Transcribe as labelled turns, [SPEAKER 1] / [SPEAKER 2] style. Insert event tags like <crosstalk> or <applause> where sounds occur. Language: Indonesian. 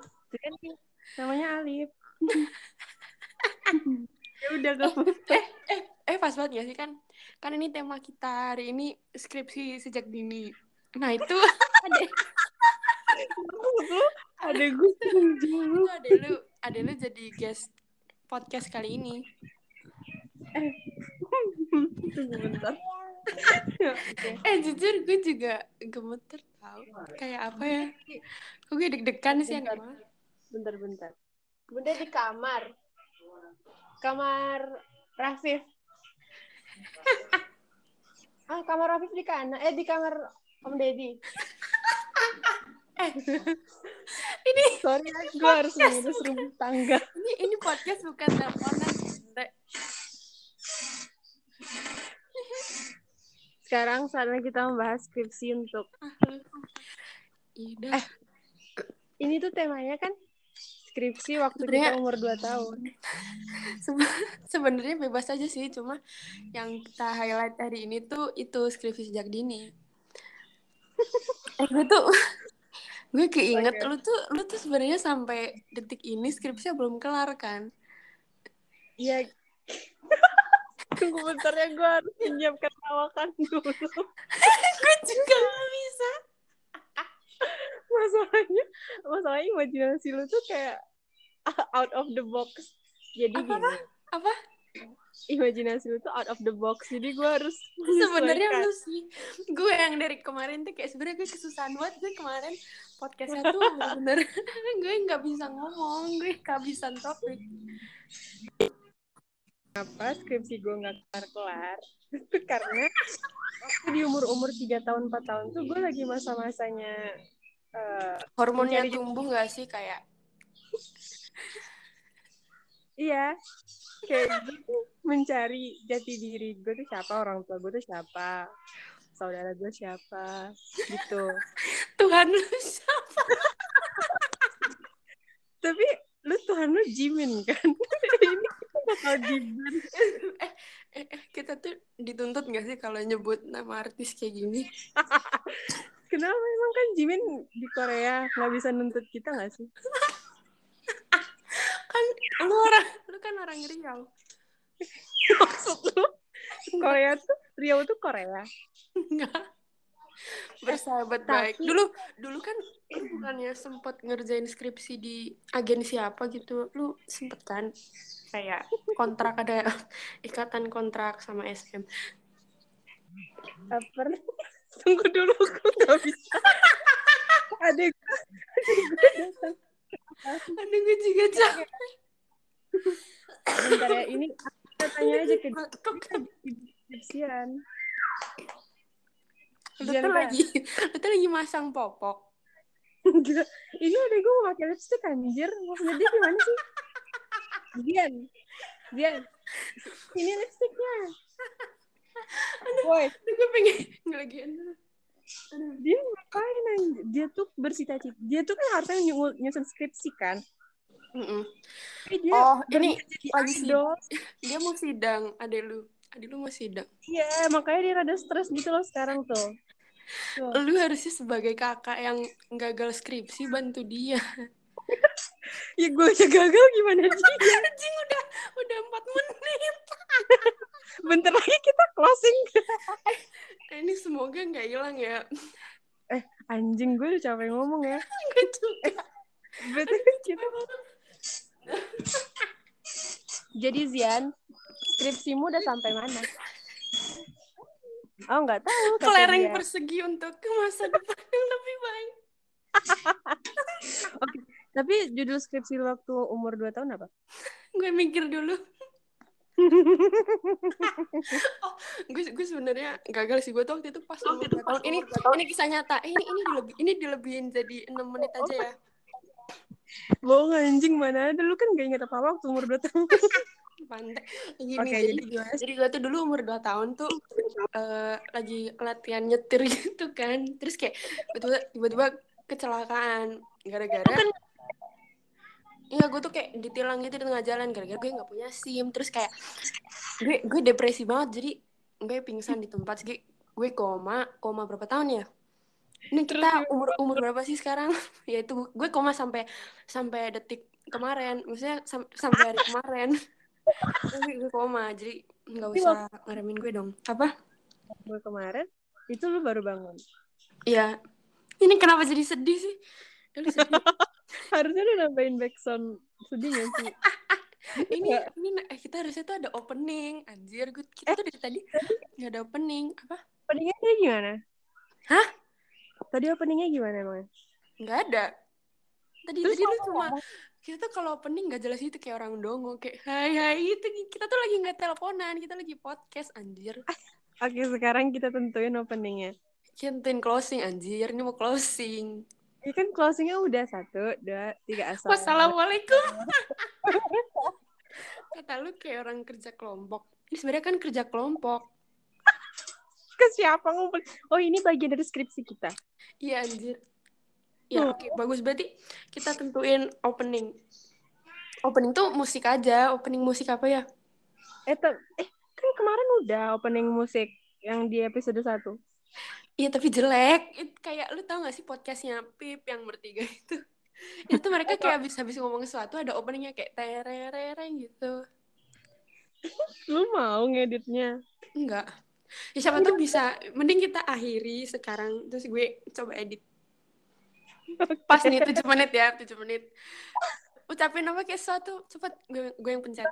[SPEAKER 1] itu kan namanya
[SPEAKER 2] <laughs>
[SPEAKER 1] Alif ya udah gak apa-apa
[SPEAKER 3] eh eh eh pas banget ya sih kan kan ini tema kita hari ini skripsi sejak dini nah <laughs> itu ada
[SPEAKER 1] lu ada gue
[SPEAKER 3] itu ada lu ada lu jadi guest podcast kali ini
[SPEAKER 1] tunggu gitu, bentar Ya,
[SPEAKER 3] eh jujur gue juga gemeter tau kayak apa ya kok gue deg-degan Kan sih yang
[SPEAKER 1] Bentar. bentar bentar
[SPEAKER 2] Bunda di kamar. Kamar
[SPEAKER 3] <laughs>
[SPEAKER 2] Rafif. ah, kamar Rafif di kanan. Eh, di kamar Om Deddy.
[SPEAKER 3] Eh, <laughs> ini
[SPEAKER 1] sorry ya gue harus
[SPEAKER 3] Podcast,
[SPEAKER 1] ngurus rumah tangga
[SPEAKER 3] ini ini podcast bukan teleponan Bunda. Eh,
[SPEAKER 1] sekarang saatnya kita membahas skripsi untuk
[SPEAKER 3] Iya, dah.
[SPEAKER 1] ini tuh temanya kan skripsi waktu
[SPEAKER 3] Sebenarnya-
[SPEAKER 1] kita umur 2 tahun
[SPEAKER 3] Sebe- sebenarnya bebas aja sih cuma yang kita highlight hari ini tuh itu skripsi sejak dini eh gue tuh <laughs> gue keinget lu tuh lu tuh sebenarnya sampai detik ini skripsinya belum kelar kan
[SPEAKER 1] Iya. <laughs> Tunggu bentar ya, gue harus menyiapkan lawakan dulu.
[SPEAKER 3] gue juga gak bisa
[SPEAKER 1] Masalahnya, masalahnya imajinasi lu tuh kayak out of the box. Jadi
[SPEAKER 3] Apa?
[SPEAKER 1] gini.
[SPEAKER 3] Apa?
[SPEAKER 1] Imajinasi lu tuh out of the box. Jadi gue harus
[SPEAKER 3] sebenarnya
[SPEAKER 1] menyesuaikan.
[SPEAKER 3] lu sih gue yang dari kemarin tuh kayak sebenarnya gue kesusahan banget gue kemarin podcastnya tuh <laughs> bener gue nggak bisa ngomong gue kehabisan topik
[SPEAKER 1] kenapa skripsi gue nggak kelar-kelar. <laughs> Itu karena waktu di umur-umur 3 tahun, 4 tahun tuh gue lagi masa-masanya eh,
[SPEAKER 3] hormonnya
[SPEAKER 1] Mencari-
[SPEAKER 3] tumbuh gak sih kayak
[SPEAKER 1] Iya, kayak gue tuh mencari jati diri gue tuh siapa, orang tua gue tuh siapa, saudara gue siapa, gitu.
[SPEAKER 3] Tuhan lu
[SPEAKER 1] Tapi lu Tuhan lu Jimin kan? <laughs> Ini kita bakal Jimin.
[SPEAKER 3] Eh, eh, kita tuh dituntut gak sih kalau nyebut nama artis kayak gini?
[SPEAKER 1] Kenapa emang kan Jimin di Korea nggak bisa nuntut kita nggak sih? <laughs>
[SPEAKER 3] Kan lu orang, lu kan orang Riau.
[SPEAKER 1] Maksud lu Korea tuh Riau tuh Korea.
[SPEAKER 3] Enggak. Eh, Bersahabat
[SPEAKER 1] Tapi-
[SPEAKER 3] baik. Dulu dulu kan lu bukannya sempet ngerjain skripsi di agensi apa gitu. Lu sempet kan kayak kontrak ada <laughs> ikatan kontrak sama SM.
[SPEAKER 1] Eh, pernah- <laughs> Tunggu dulu, gue nggak bisa. Ada
[SPEAKER 3] Aduh gue juga capek.
[SPEAKER 1] bentar ya ini aku tanya aja ke
[SPEAKER 3] Kok- kan kok-
[SPEAKER 1] skripsian.
[SPEAKER 3] Lu tuh lagi <laughs> lu tuh lagi masang popok.
[SPEAKER 1] <laughs> Gila, ini udah gue mau pakai lipstick anjir. Maksudnya dia gimana sih? Dian. Dian. Ini lipstiknya. Woi,
[SPEAKER 3] Aduh gue pengen <laughs> ngelagian dulu.
[SPEAKER 1] dia ngapain anjir? Dia tuh bersita-cita. Dia tuh kan harusnya nyu- nyusun skripsi kan.
[SPEAKER 3] Mm-mm.
[SPEAKER 1] Tapi dia
[SPEAKER 3] Oh, ini
[SPEAKER 1] jadi
[SPEAKER 3] lagi
[SPEAKER 1] idol.
[SPEAKER 3] dia mau sidang ade lu ade lu mau sidang
[SPEAKER 1] Iya, makanya dia rada stres gitu loh sekarang tuh.
[SPEAKER 3] lu harusnya sebagai kakak yang gagal skripsi bantu dia <laughs>
[SPEAKER 1] Ya gue aja gagal gimana sih?
[SPEAKER 3] anjing udah udah empat menit
[SPEAKER 1] <laughs> Bentar lagi kita closing.
[SPEAKER 3] Nah, ini semoga nggak hilang ya <laughs>
[SPEAKER 1] Anjing gue udah capek ngomong ya.
[SPEAKER 3] Nggak juga.
[SPEAKER 1] Berarti kita Jadi Zian, skripsimu udah sampai mana? Oh nggak tahu. kata
[SPEAKER 3] kelereng
[SPEAKER 1] dia.
[SPEAKER 3] persegi untuk masa depan yang lebih baik
[SPEAKER 1] Tapi judul skripsi lu waktu umur 2 tahun apa?
[SPEAKER 3] gue mikir <laughs> dulu oh, gue gue sebenarnya gagal sih gue tuh waktu itu pas umur dua tahun ini ini kisah nyata Eh, ini ini dilebih, ini dilebihin jadi enam menit aja <laughs> ya
[SPEAKER 1] Bohong anjing mana ada lu kan gak inget apa apa waktu umur 2 tahun.
[SPEAKER 3] Pantai. Gini,
[SPEAKER 1] Oke,
[SPEAKER 3] jadi,
[SPEAKER 1] jadi gimana
[SPEAKER 3] jadi gue tuh dulu umur 2 tahun tuh eh, lagi latihan nyetir <laughs> gitu kan. Terus kayak tiba-tiba, tiba-tiba kecelakaan gara-gara Iya, gue tuh kayak ditilang gitu di tengah jalan gara-gara gue nggak punya SIM. Terus kayak gue gue depresi banget. Jadi gue pingsan di tempat. Jadi gue koma, koma berapa tahun ya? Ini kita umur umur berapa sih sekarang? <laughs> ya itu gue koma sampai sampai detik kemarin, maksudnya sam- sampai hari <laughs> kemarin. Tapi gue koma, jadi nggak
[SPEAKER 1] Tapi
[SPEAKER 3] usah ngaremin gue dong. Apa?
[SPEAKER 1] gue kemarin itu lu baru bangun
[SPEAKER 3] Iya. Ini kenapa jadi sedih sih? Aduh, <laughs> sedih.
[SPEAKER 1] harusnya lu nambahin backsound sedih gak sih
[SPEAKER 3] ini ini eh, kita harusnya tuh ada opening. Anjir, gue kita tuh dari Eh, tadi nggak ada opening. Apa?
[SPEAKER 1] openingnya tadi gimana
[SPEAKER 3] Hah?
[SPEAKER 1] tadi openingnya gimana emang
[SPEAKER 3] Nggak ada. Tadi
[SPEAKER 1] Terus
[SPEAKER 3] tadi lu
[SPEAKER 1] apa
[SPEAKER 3] cuma kita tuh kalau opening nggak jelas itu kayak orang dongo kayak hai hai itu kita tuh lagi nggak teleponan kita lagi podcast anjir
[SPEAKER 1] oke sekarang kita tentuin openingnya
[SPEAKER 3] Kintin closing anjir ini mau closing
[SPEAKER 1] ya kan closingnya udah satu dua tiga asal
[SPEAKER 3] Wassalamualaikum <laughs> kata lu kayak orang kerja kelompok ini sebenarnya kan kerja kelompok
[SPEAKER 1] ke siapa ngumpul oh ini bagian dari skripsi kita
[SPEAKER 3] iya anjir ya oke bagus berarti kita tentuin opening opening tuh musik aja opening musik apa ya
[SPEAKER 1] eh, te- eh kan kemarin udah opening musik yang di episode satu
[SPEAKER 3] Iya tapi jelek. It- kayak lu tau gak sih podcastnya Pip yang bertiga <laughs> itu? itu tuh mereka kayak habis-habis ngomong sesuatu ada openingnya kayak terereng gitu.
[SPEAKER 1] lu mau ngeditnya
[SPEAKER 3] Enggak. Ya siapa tuh bisa. Mending kita akhiri sekarang. Terus gue coba edit. Pas nih 7 menit ya. 7 menit. Ucapin apa kayak sesuatu. Cepet. Gue, gue yang pencet.